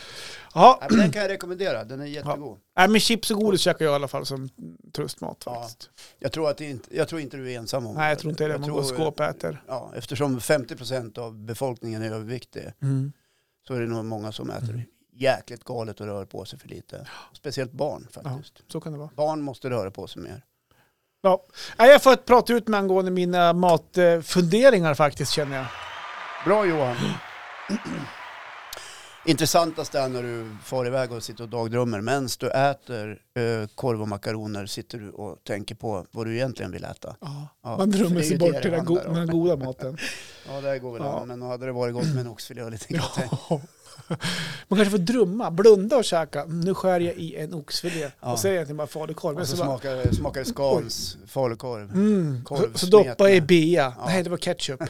Ja, Nej, men Den kan jag rekommendera, den är jättegod. Nej, men chips och godis käkar jag i alla fall som tröstmat Ja. faktiskt. Jag tror, att det inte, jag tror inte du är ensam om Nej, jag tror inte det. Jag Man går och tror- skåpäter. Ja, eftersom 50% av befolkningen är överviktig Mm. så är det nog många som äter jäkligt galet och rör på sig för lite. Speciellt barn faktiskt. Så kan det vara. Barn måste röra på sig mer. Ja. Nej, jag får prata ut med angående mina matfunderingar faktiskt känner jag. Bra Johan! Intressantast är när du far iväg och sitter och dagdrömmer. Medan du äter eh, korv och makaroner sitter du och tänker på vad du egentligen vill äta. Ja, Man för det drömmer är ju sig bort det till det den, go- handlar om. den goda maten. Ja, det här går väl Ja. an. Men då hade det varit gott med en oxfilé och lite gratäng. Ja. Man kanske får drömma, blunda och käka. Mm, Nu skär jag i en oxfilé. Ja. Och så är det egentligen bara falukorv. Men Och så så, bara, smakar, smakar det skans, falukorv. mm, korv så, så doppar jag i smet med. bea. Ja. Nej, det var ketchup. och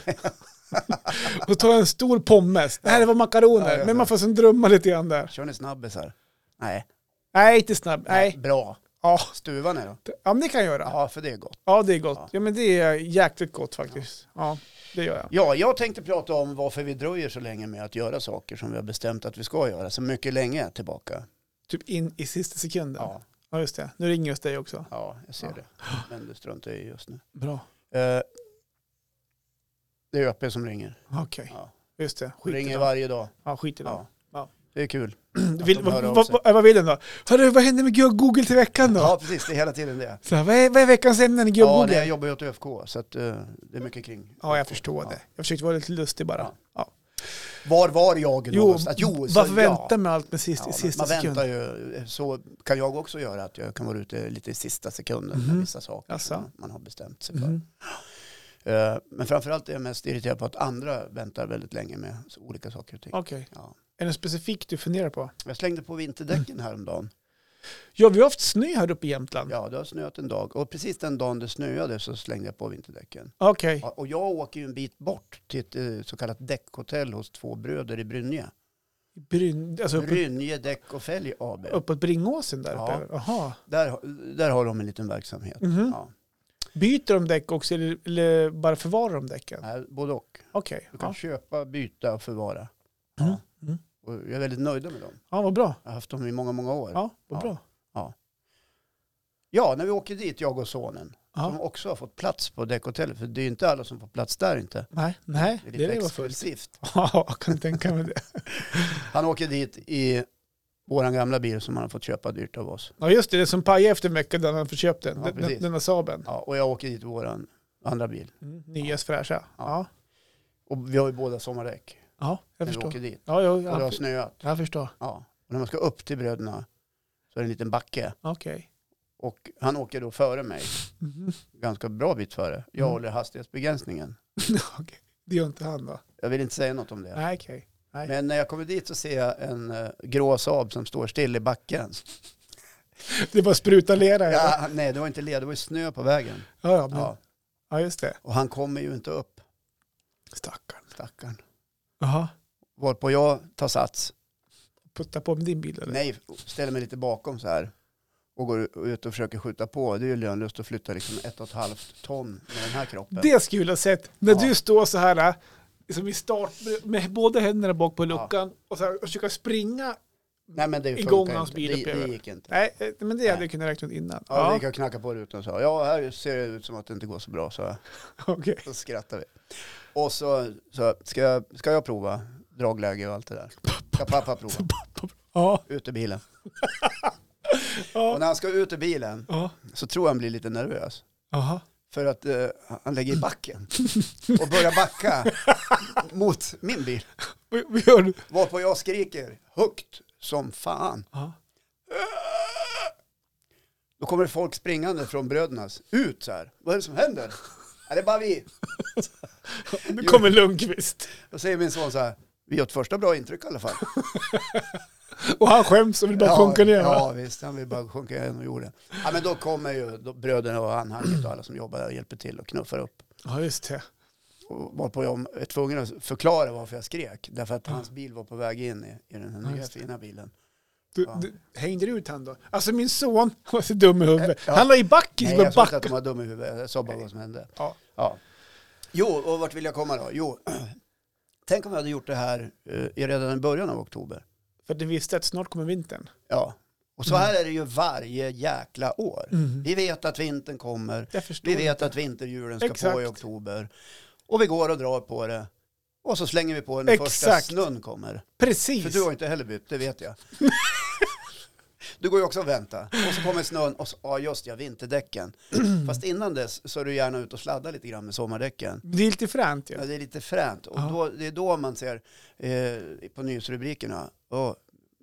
så tar jag en stor pommes. Nej, det var makaroner. Ja, ja, Men ja. man får sen drömma lite grann där. Kör ni snabbisar? Nej. Nej, inte snabb. Nej. Bra. Ja. Stuvar ni då? ja, men det kan jag göra. Ja, för det är gott. Ja, det är gott. Ja. Ja, men det är jäkligt gott faktiskt. Ja, det gör jag. Ja, jag tänkte prata om varför vi dröjer så länge med att göra saker som vi har bestämt att vi ska göra så mycket länge tillbaka. Typ in i sista sekunden. Ja, Ja, just det. Nu ringer jag hos dig också. ja jag ser Ja. det. Men det struntar jag i just nu. Bra. Eh, det är ÖP som ringer. Okej, Ja. just det. Skit i Ringer dem. varje dag. Ja, skit i dem. Ja. Ja. Det är kul. Du Vill, Att de vad, hör av vad, sig. vad, vad vill den då? Hörru, vad händer med Geo Google till veckan då? Ja, precis. Det är hela tiden det. Så här, vad, är, vad är veckans ämnen i Geo Ja, nej, Google? jag jobbar ju åt ÖFK så att, eh, det är mycket kring. Ja, jag ÖFK. förstår Ja. det. Jag försökte vara lite lustig bara. Ja. Ja. Var var jag Jo, någonstans? Jo, så- varför ja. vänta med allt med sist, i Ja, sista man sekund? väntar ju, eh, så kan jag också göra att jag kan vara ute lite i sista sekunden Mhm. med vissa saker Jaså. som man har bestämt sig för. Mhm. Eh, Men framförallt är jag mest irriterad på att andra väntar väldigt länge med så- olika saker och ting. Okej. Ja. Är det något specifikt du funderar på? Jag slängde på vinterdäcken häromdagen. Ja, vi har haft snö här uppe i Jämtland. Ja, det har snöat en dag och precis den dagen det snöade så slängde jag på vinterdäcken. Okej. Ja, Och jag åker ju en bit bort till ett eh, så kallat däckhotell hos två bröder i Brynje. Bryn, alltså uppe, Brynje Däck och Fälg AB. uppåt Bringåsen där uppe? Ja. Jaha. Där, där har de en liten verksamhet. Mhm. Ja. Byter de däck också eller, eller bara förvarar de däcken? Nej, Både och. Okej. Du kan Ja. köpa, byta och förvara. Mm. Ja. Mm. Och jag är väldigt nöjd med dem. ja, vad bra. Jag har haft dem i många, många år. Ja, Ja, vad Ja. bra. när vi åker dit, jag och sonen, som Ja. också har fått plats på däckhotellet, för det är ju inte alla som får plats där inte. Nej, nej, Det är det lite är det var fullt. exklusivt. Ja, jag kan tänka mig det. Han åker dit i våran gamla bil som han har fått köpa dyrt av oss. Ja, just det. Det som pajade efter en vecka när han förköpt den. Ja, den, den, precis. den där Saaben. Ja, och jag åker dit i våran andra bil. Mm, Nyas fräscha. Ja, Ja. Och vi har ju båda sommardäck ja jag när vi förstår. åker dit. Ja, jo, Och det har jag, snöat. jag förstår. Ja. Och när man ska upp till bröderna så är det en liten backe. Okej. Och han åker då före mig, Mhm. ganska bra bit före. Jag Mm. håller hastighetsbegränsningen. Okej. Det gör inte han då? Jag vill inte säga något om det. Nej, okej. Nej. Men när jag kommer dit så ser jag en eh, grå Saab som står still i backen. Det var spruta lera. Ja, Ja, nej, det var inte led, det var ju snö på vägen. ja, ja, men, ja. Ja, just det. och han kommer ju inte upp, Stackarn. stackarn. Jaha. Varpå jag tar sats. Putta på med din bil eller? Nej, ställer mig lite bakom så här. Och går ut och försöker skjuta på. Det är ju lönlöst att flytta liksom ett och ett halvt ton med den här kroppen. Det skulle jag ha sett. När Ja. du står så här, äh, som i start, med båda händerna bak på luckan och, så här, och försöka springa. Nej men det igång funkar hans inte. bil det, upplever det jag. gick inte. Nej, eh, men det hade Nej. jag kunnat räkna ut innan. Ja, Ja, Vi gick och knackade på rutan och sa, ja här ser det ut som att det inte går så bra. Så okej. så skrattade vi. Och så, så ska, jag, ska jag prova dragläge och allt det där. Ska pappa prova? Ja, Ut ur bilen. Och ja, när han ska ut ur bilen ja. så tror jag han blir lite nervös. Jaha. För att eh, han lägger i backen och börjar backa mot min bil. Vad vad gör du? Varpå jag skriker högt som fan. Ja. Då kommer det folk springande från brödernas ut så här. Vad är det som händer? Ja, det är bara vi. Nu kommer Lundqvist. Då säger min son så här. Vi gör ett första bra intryck i alla fall. Och han skäms och vill bara sjunka ner. va? Ja, visst. Han vill bara sjunka ner och jorden. Ja, men då kommer ju då, bröderna och anhanget och alla som jobbar där och hjälper till och knuffar upp. ja, just det. Och varpå jag är tvungen att förklara varför jag skrek. Därför att hans bil var på väg in i, i den här Ja, nya just det. fina bilen. Du, Ja. du, hängde du ut han då? Alltså min son, han var så dum i huvudet. Eh, Ja. Han la i backen, Nej, skulle jag sa inte backa. att de var dumma i huvudet. Jag sa bara vad som hände. Ja. Ja. Jo, och vart vill jag komma då? Jo, tänk om jag hade gjort det här eh, i redan i början av oktober. För du visste att snart kommer vintern. Ja. Och så här är det ju varje jäkla år. Mm. Vi vet att vintern kommer. Jag förstår. Vi vet att vinterhjulen ska på i Exakt. oktober. Och vi går och drar på det. Och så slänger vi på den första Exakt. snön kommer. För Precis. du har inte heller bytt, det vet jag. Du går ju också och väntar. Och så kommer snön och så, ja just ja, vinterdäcken. Fast innan dess så är du gärna ute och sladdar lite grann med sommardäcken. Det är lite fränt ju. Ja, det är lite fränt. Och Ja. då, det är då man ser eh, på nyhetsrubrikerna, "Åh,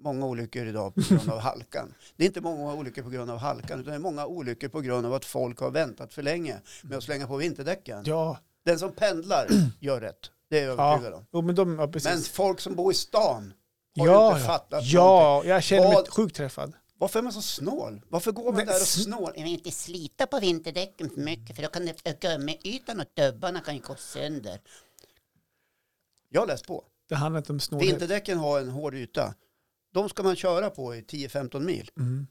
många olyckor idag på grund av halkan. Det är inte många olyckor på grund av halkan, utan det är många olyckor på grund av att folk har väntat för länge med att slänga på vinterdäcken. Ja, Den som pendlar gör rätt, det är jag Ja, övertygad om. jo, men de, ja precis. Men folk som bor i stan har ja, inte fattat någonting. ja. ja, jag känner mig Vad- sjukt träffad. Varför är man så snål? Varför går man Men där och sn- snål? Jag vill inte slita på vinterdäcken för mycket för då kan det, gummiytan och dubbarna kan ju gå sönder. Jag har läst på. Det handlar inte om snålhet. Vinterdäcken har en hård yta. De ska man köra på i 10-15 mil. Mm.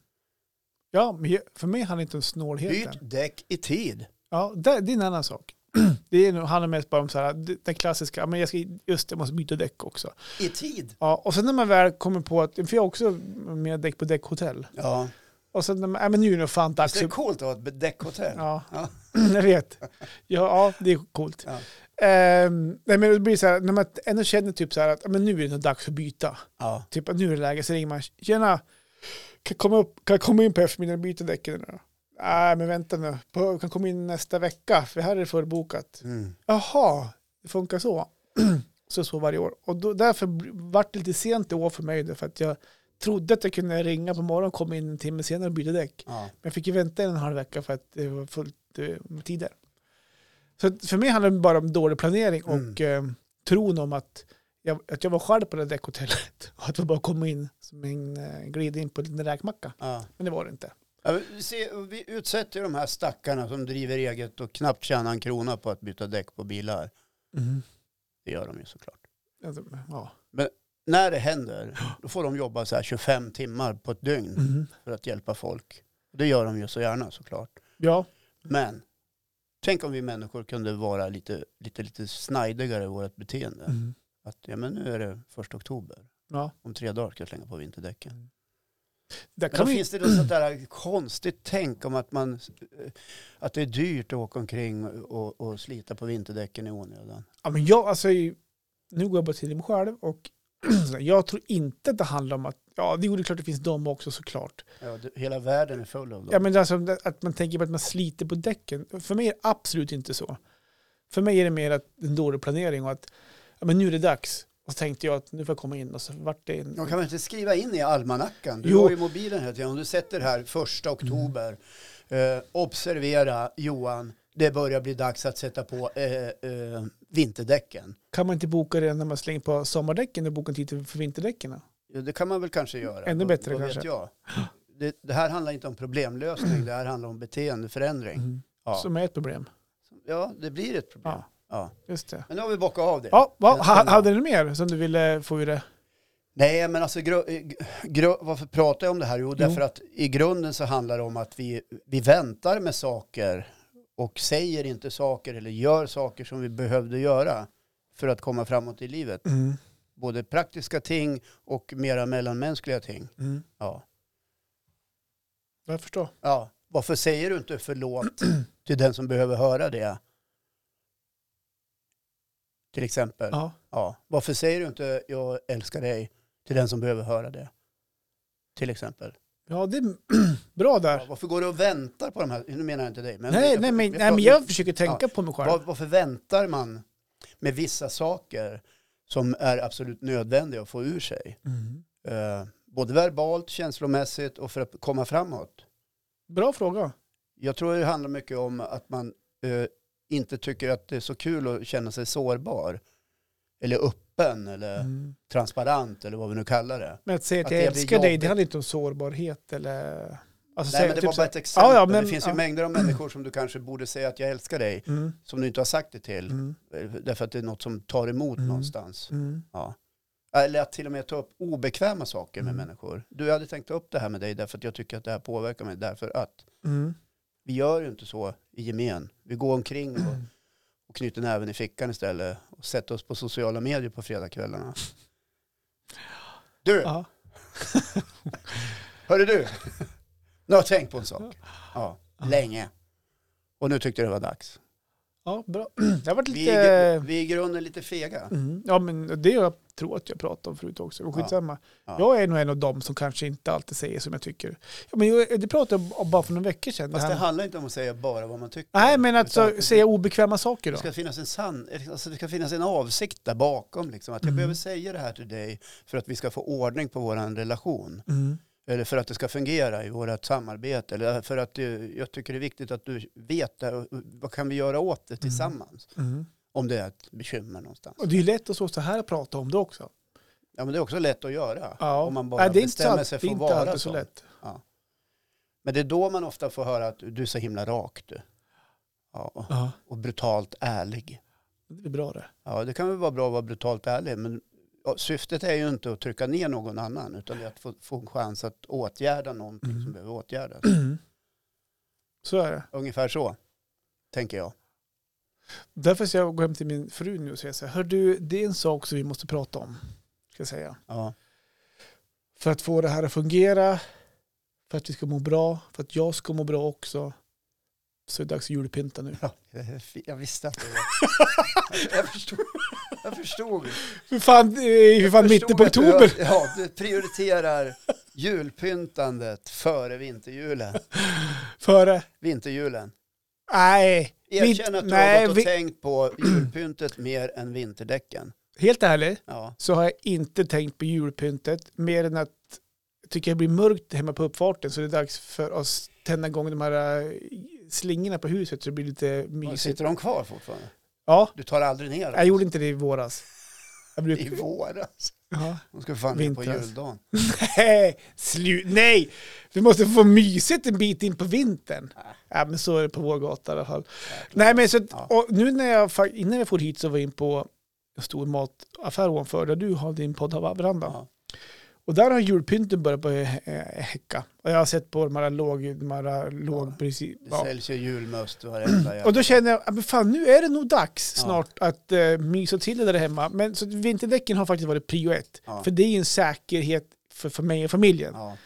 Ja, men jag- för mig handlar det inte om Byt snålheten. däck i tid. Ja, det, det är en annan sak. Det är, nog- handlar mest bara om så här, det- den klassiska, ja, men jag ska, just det, jag måste byta däck också. I tid. Ja, och sen när man väl kommer på att, för jag har också med däck på däckhotell. Ja. Och sen när man, ja men nu är det fan Visst dags. är det att- coolt att ha ett däckhotell? Alltså- Ja, Ja. jag vet. Ja, ja, det är coolt. Ja. Ehm, nej, men det blir så här, när man ändå känner typ så här att ja, men nu är det nog dags att byta. ja. Typ att nu är det läge, så ringer man. Tjena, kan jag komma, upp, kan jag komma in på eftermiddagen och byta däcken nu då? Nej, men vänta nu. På, kan komma in nästa vecka, för här är det fullbokat. Mm. Jaha, det funkar så. så så varje år. Och då, därför bl- vart det lite sent i år för mig, då, för att jag trodde att jag kunde ringa på morgonen och komma in en timme senare och byta däck. ja. Men jag fick ju vänta en och en halv vecka för att det var fullt eh, med tider. Så att för mig handlar det bara om dålig planering Mm. och eh, tron om att jag, att jag var själv på det där däckhotellet och att det bara kom in som en eh, glid in på en liten räkmacka. ja. Men det var det inte. Ja, vi, ser, vi utsätter ju de här stackarna som driver eget och knappt tjänar en krona på att byta däck på bilar. Mm-hmm. Det gör de ju såklart. Alltså, ja. När det händer, då får de jobba så här 25 timmar på ett dygn Mm. för att hjälpa folk. Det gör de ju så gärna såklart. ja, Men tänk om vi människor kunde vara lite, lite, lite snajdigare i vårt beteende. Mm. Att ja, men nu är det första oktober. Mm-hmm. ja. Om tre dagar ska jag slänga på vinterdäcken. Där Men då kan vi, finns det då sånt där konstigt tänk om att, man, eh, att det är dyrt att åka omkring och, och slita på vinterdäcken i onödan. ja, men jag, alltså, ju- nu går jag bara till mig själv och jag tror inte att det handlar om att, ja det är ju klart det finns de också såklart. Ja, det, hela världen är full av dem. Ja, men alltså, att man tänker på att man sliter på däcken. För mig är det absolut inte så. För mig är det mer att en dålig planering och att ja, men nu är det dags. Och så tänkte jag att nu får jag komma in och så vart det en... De kan väl inte skriva in i almanackan? Du Jo. har ju mobilen hela tiden. Om du sätter här första oktober, eh, observera Johan, det börjar bli dags att sätta på eh, eh, vinterdäcken. Kan man inte boka det när man slänger på sommardäcken och boka en tid till- för vinterdäcken? då? Jo, Det kan man väl kanske göra. Ännu Vad- bättre vad Vet kanske. jag. Det, det här handlar inte om problemlösning, det här handlar om beteendeförändring. Ja. Mm. Som är ett problem. ja, det blir ett problem. Ja, Ja. just det. Men nu har vi bockat av det. Ja, vad- Den- ha, den- hade du mer som du ville få ur det? Nej, men alltså gru- eh, gru- varför pratar jag om det här? Jo, därför att i grunden så handlar det om att vi, vi väntar med saker och säger inte saker eller gör saker som vi behövde göra för att komma framåt i livet. Mm. Både praktiska ting och mera mellanmänskliga ting. Mm. Ja. Jag förstår. ja. Varför säger du inte förlåt till den som behöver höra det? Till exempel. Ja. Ja. Varför säger du inte jag älskar dig till den som behöver höra det? Till exempel. ja, det är bra Ja, där. varför går du och väntar på de här? Nu menar jag inte dig. Men Nej, jag- nej, men, jag- nej, men jag försöker tänka på mig själv. var, varför väntar man med vissa saker som är absolut nödvändiga att få ur sig? Mm. Eh, både verbalt, känslomässigt och för att komma framåt. Bra fråga. Jag tror det handlar mycket om att man eh, inte tycker att det är så kul att känna sig sårbar. Eller öppen eller Mm. transparent eller vad vi nu kallar det. Men att säga att, Att jag det blir älskar dig, det jobbigt. handlar inte om sårbarhet eller... Alltså, Nej, säga men det typ var så bara här- ett exempel. Ja, ja, men- det finns ja. ju mängder av människor som du kanske borde säga att jag älskar dig, Mm, som du inte har sagt det till. mm, Därför att det är något som tar emot Mm. någonstans. mm. Ja. Eller att till och med ta upp obekväma saker med Mm. människor. Du, jag hade tänkt ta upp det här med dig därför att jag tycker att det här påverkar mig. Därför att Mm. vi gör ju inte så i gemen. Vi går omkring och, och knyter näven i fickan istället och sätter oss på sociala medier på fredagskvällarna. Du, Ja. hörru du. Nu har jag tänkt på en sak. Ja, länge. Och nu tyckte jag det var dags. ja, bra. Jag har varit Vi är, lite... vi är i grunden lite fega. Mm. Ja, men det jag tror att jag pratade om förut också. Men Skitsamma. Ja. Jag är nog en av dem som kanske inte alltid säger som jag tycker. Ja, men jag- det pratade jag om bara för några veckor sedan. Fast det Det här- handlar inte om att säga bara vad man tycker. Nej, men Utan alltså att- säga obekväma saker då. Det ska finnas en sann, alltså det ska finnas en avsikt där bakom liksom. Att jag Mm. behöver säga det här till dig för att vi ska få ordning på vår relation. Mm. Eller för att det ska fungera i vårt samarbete. Eller för att eh, jag tycker det är viktigt att du vet det här. och Vad kan vi göra åt det tillsammans? Mm. Om det är ett bekymmer någonstans. Och det är ju lätt att stå så här och prata om det också. Ja men det är också lätt att göra. Ja. Om man bara Nej, det är inte så bestämmer alltid, sig det för är att inte vara alltid så så. lätt. Men det är då man ofta får höra att du är så himla rak du. Ja, och- Ja, och brutalt ärlig. det är bra det. Ja, det kan väl vara bra att vara brutalt ärlig, men ja, syftet är ju inte att trycka ner någon annan, utan det är att få, få en chans att åtgärda någonting Mm. som behöver åtgärdas. Så är det. Ungefär så, tänker jag. Därför ska jag gå hem till min fru nu och säga så här, hör du, det är en sak som vi måste prata om. Ska jag säga. Ja, För att få det här att fungera, för att vi ska må bra, för att jag ska må bra också. Så är det dags att julpynta nu. jag visste att det var... jag förstod. Jag förstod. Hur fan, det är ju fan Jag förstod mitten på att du- oktober. ja, du prioriterar julpyntandet före vinterjulen. Före. Vinterjulen. Nej. Erkänn att du har nej, gått vi- och tänkt på julpyntet mer än vinterdäcken. Helt ärligt Ja, så har jag inte tänkt på julpyntet mer än att jag tycker det blir mörkt hemma på uppfarten så det är dags för oss tända igång de här äh, slingorna på huset så det blir lite mysigt. sitter de kvar fortfarande? Ja, Du tar aldrig ner dem? jag gjorde inte det i våras. Jag blev... I våras. Ja. De ska fan ner på Vintras. juldagen. Nej, slut. Nej, vi måste få mysigt en bit in på vintern. Ja, men så är det på vår gata i alla fall. Nej, men så att, Ja. och nu när jag, fa- innan jag for hit så var jag in på en stor mataffär ovanför där du har din poddveranda. Ja. Och där har julpynten börjat börja eh, häcka. Och jag har sett på de här låg, de här låg precis. Det Ja. säljs ju julmust varenda jävla... Och då känner jag, ja, men fan nu är det nog dags snart att eh, mysa till det där hemma. Men så att vinterdäcken har faktiskt varit prio ett. Ja. För det är ju en säkerhet för, för mig och familjen Ja.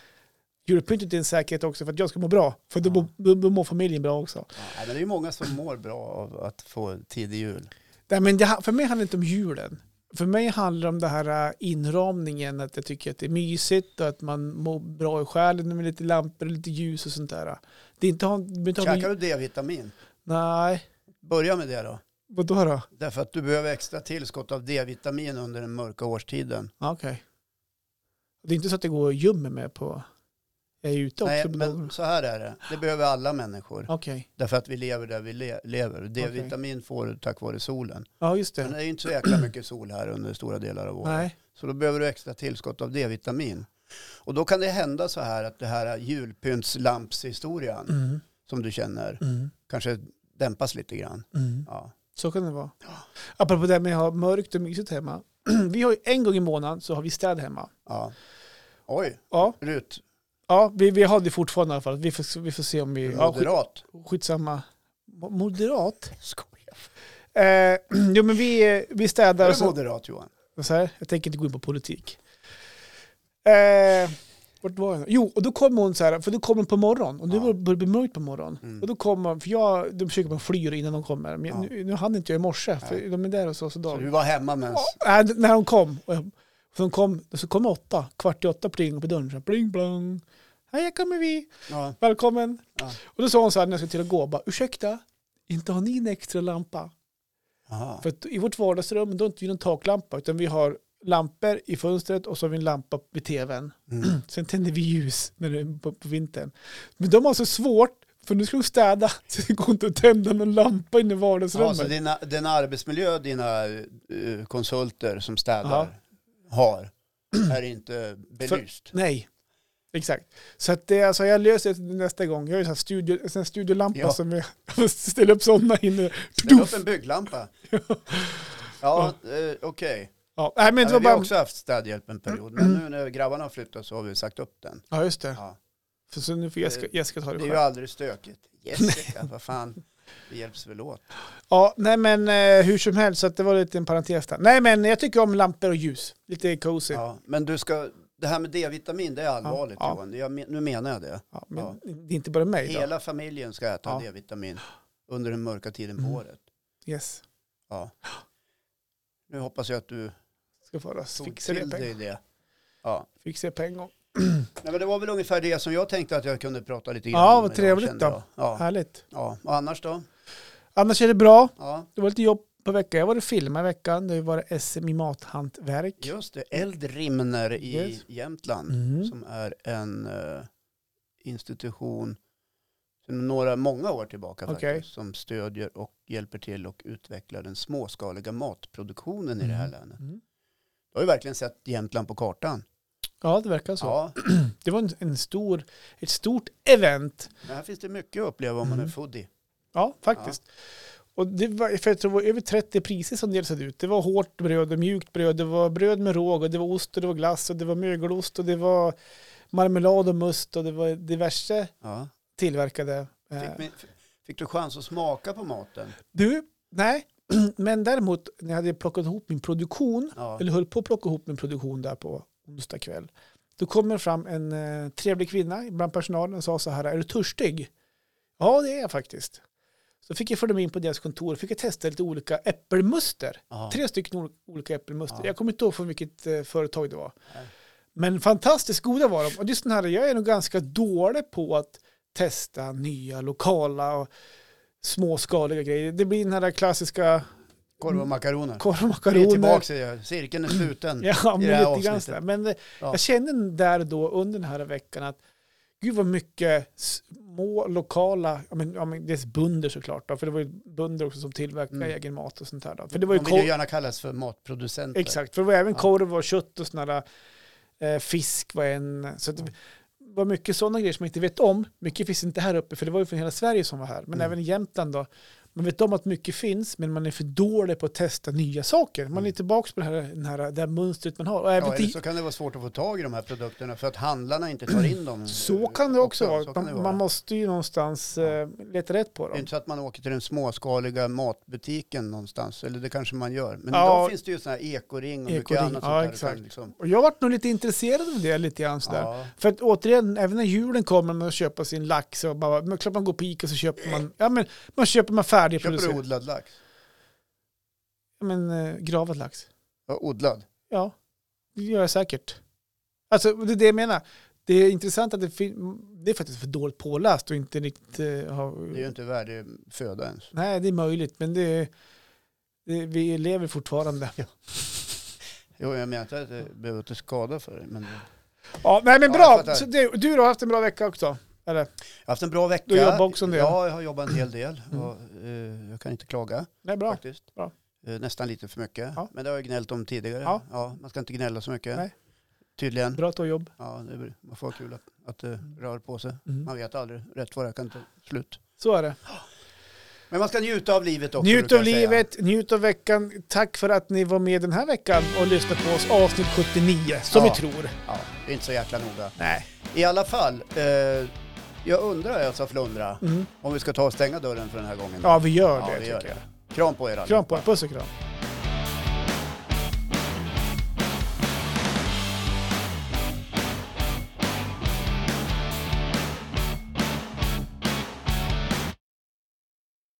julpyntet är en säkerhet också för att jag ska må bra. För då, Ja. mår- då, då mår familjen bra också. Ja, men det är ju många som mår bra av att få tidig jul. Nej, men det, ha- för mig handlar det inte om julen. För mig handlar det om det här äh, inramningen, att jag tycker att det är mysigt och att man mår bra i själen med lite lampor och lite ljus och sånt där. Det är inte ha... det behöver inte ha Käkar du D-vitamin? Nej, Börja med det då. vadå då? Därför att du behöver extra tillskott av D-vitamin under den mörka årstiden. Ja, Okej. Det är inte så att det går och gömmer mig på... Jag är ute också. Nej, på dagarna. men så här är det. Det behöver alla människor. Okej, Därför att vi lever där vi le- lever. D-vitamin får du tack vare solen. ja just Men det. det är ju inte så jäkla mycket sol här under stora delar av året. Nej, Så då behöver du extra tillskott av D-vitamin. Och då kan det hända så här att det här julpyntslampshistorian mm, som du känner mm, kanske dämpas lite grann. mm. Ja. så kan det vara. Apropå det här med att ha mörkt och mysigt hemma. Vi har ju en gång i månaden så har vi städ hemma. ja. Oj, Ja, Rut, ja vi, vi har det fortfarande i alla fall. Vi får, vi får se om vi... Ja, skit, moderat. skitsamma. Mo- Moderat? Skojar. Eh, jo men vi, eh, vi Du städar och är så, moderat Johan. och så här, Jag tänker inte gå in på politik. Eh, vart var jag? Jo, och då kommer hon så här, för då kommer hon på morgonen. Och nu Ja. börjar det bli mörkt på morgonen. Mm. Och då kommer hon, för jag, de försöker bara fly innan de kommer. Men Ja. nu, nu hann inte jag i morse, för Nej. de är där och så. så, Så de, du var hemma medan... Ja, d- när de kom. Och jag- För de kom, så kom åtta, kvart i åtta pling på dörren. Så här, pling plong. Hej, här kommer vi. Ja. Välkommen. Ja. Och då sa hon så här när jag skulle till att gå, bara, ursäkta, inte har ni en extra lampa? Aha. För att i vårt vardagsrum, då har inte vi någon taklampa, utan vi har lampor i fönstret och så har vi en lampa vid tvn. Mm. Sen tänder vi ljus när det är på, på vintern. Men de har så svårt, för nu ska de städa, så det går inte att tända någon lampa inne i Ja, vardagsrummet. så dina, den arbetsmiljö dina eh, konsulter som städar har är inte belyst. Nej, exakt. Så att det, alltså, jag löser det nästa gång. Jag har ju så här studio, en sån här studiolampa Ja. som jag jag ställer upp sådana inne. Ställ upp en bygglampa. Ja, eh, okej. Ja, nej, men Ja, det var men vi har bara... också haft städhjälp en period, men nu när grabbarna har flyttat så har vi sagt upp den. Ja, just det. Ja. För så nu får Jessica, Jessica ta det Det är ju själv. aldrig stökigt. Jessica, vad fan, det hjälps väl åt. Typ. Ja, nej men eh, hur som helst, så att det var lite en parentes där. Nej men jag tycker om lampor och ljus. Lite cozy. Ja. Ja, men du ska, det här med D-vitamin, det är allvarligt Ja. Johan. Jag, men- nu menar jag det. men Ja. det är inte bara mig då. Hela familjen ska äta Ja. D-vitamin under den mörka tiden på Mm. året. Yes. Ja. Nu hoppas jag att du Ska få oss. tog Fixa det, till på en- dig det. Ja. fixa det på en gång. Nej, men det var väl ungefär det som jag tänkte att jag kunde prata lite grann Ja, om vad idag, trevligt kände jag. då. Ja. Härligt. ja, och annars då? Annars är det bra. Ja, Det var lite jobb på veckan. Jag var och filmade i veckan. Det var SM i mathantverk. just det. Eldrimner i Yes. Jämtland. Mm. som är en eh, institution sedan några, många år tillbaka Okej. faktiskt, som stödjer och hjälper till och utvecklar den småskaliga matproduktionen i det här Mm. länet. Mm. Du har ju verkligen sett Jämtland på kartan. Ja, det verkar så. Ja, Det var en, en stor, ett stort event. men här finns det mycket att uppleva om man är Mm. foodie. Ja, faktiskt. Och det var, för jag tror det var över 30 priser som delades ut. Det var hårt bröd och mjukt bröd. Det var bröd med råg och det var ost och det var glass och det var mögelost och det var marmelad och must och det var diverse Ja. tillverkade. eh, Fick, min- f- fick du chans att smaka på maten? Du, nej. Men däremot när jag hade plockat ihop min produktion Ja. eller höll på att plocka ihop min produktion där på onsdag kväll. Då kommer fram en eh, trevlig kvinna bland personalen och sa så här, är du törstig? Ja, det är jag faktiskt. Så fick jag följa med in på deras kontor och fick jag testa lite olika äppelmuster. Ja. Tre stycken ol- olika äppelmuster. Ja. Jag kommer inte ihåg från vilket eh, företag det var. Nej. Men fantastiskt goda var de. Och det är sån här, jag är nog ganska dålig på att testa nya lokala och småskaliga grejer. Det blir den här klassiska Korv och makaroner. korv och Vi är makaroner. tillbaka till det. Cirkeln är sluten. Ja, det här men lite grann avsnittet. sådär. Men eh, Ja. jag kände där då under den här veckan att gud vad mycket små lokala, ja men, ja, men det är bönder såklart då, för det var ju bönder också som tillverkade Mm. egen mat och sånt där då. För det var ju De vill ju korv, gärna kallas för matproducenter. exakt, för det var även Ja. korv och kött och sådana där, eh, fisk var en, så att det var mycket sådana grejer som jag inte vet om. Mycket finns inte här uppe, för det var ju från hela Sverige som var här, men Mm. även i Jämtland då. Man vet om att mycket finns, men man är för dålig på att testa nya saker. Man är Mm. tillbaka på det här, den här, det här mönstret man har. Och Ja, även eller till, så kan det vara svårt att få tag i de här produkterna för att handlarna inte tar in dem. Så kan det också vara. Så kan det Man, man måste ju någonstans eh, leta rätt på Det är dem. inte så att man åker till den småskaliga matbutiken någonstans, eller det kanske man gör. Men Ja. idag finns det ju sådana här ekoring och mycket Ekoring, annat. sånt ja, där. Du exakt. kan Liksom, Och jag vart nog lite intresserad av det lite grann sådär. ja, För att återigen, även när julen kommer man köper sin lax och bara, men klart man går på Ica och så köper man, ja men man köper man Eh. köper du färdigproducerad, odlad lax? ja, men eh, gravad lax. Ja, odlad? Ja, det gör jag säkert. Alltså det är det jag menar. Det är intressant att det finns, det är faktiskt för dåligt påläst och inte riktigt eh, Det är ju har, inte värdig föda ens. nej det är möjligt men det, det vi lever fortfarande. Jo, jag menar inte att det behöver inte skada för dig, men Ja, nej men Ja, jag fattar. bra. Så du, du då har haft en bra vecka också? Eller? Jag har haft en bra vecka. Du jobbar också en del. Ja, jag har jobbat en hel del. Och, eh, jag kan inte klaga Nej, bra. faktiskt. Bra. Eh, nästan lite för mycket. Ja. Men det har jag gnällt om tidigare. Ja. Ja. man ska inte gnälla så mycket. Nej. Tydligen. Bra att du har jobb. Ja, det är, man får ha kul att, att det rör på sig. Mm. Man vet aldrig. Rätt vad det kan ta slut. Så är det. Men man ska njuta av livet också. Njut brukar av jag säga. livet, njut av veckan. Tack för att ni var med den här veckan och lyssnade på oss avsnitt 79, som Ja. vi tror. Ja, det är inte så jäkla noga. Nej. I alla fall, eh, jag undrar Elsa Flundra Mm. om vi ska ta och stänga dörren för den här gången. Ja, vi gör Ja, det vi gör tycker jag. Kram på er allihopa. Kram på er, puss och kram.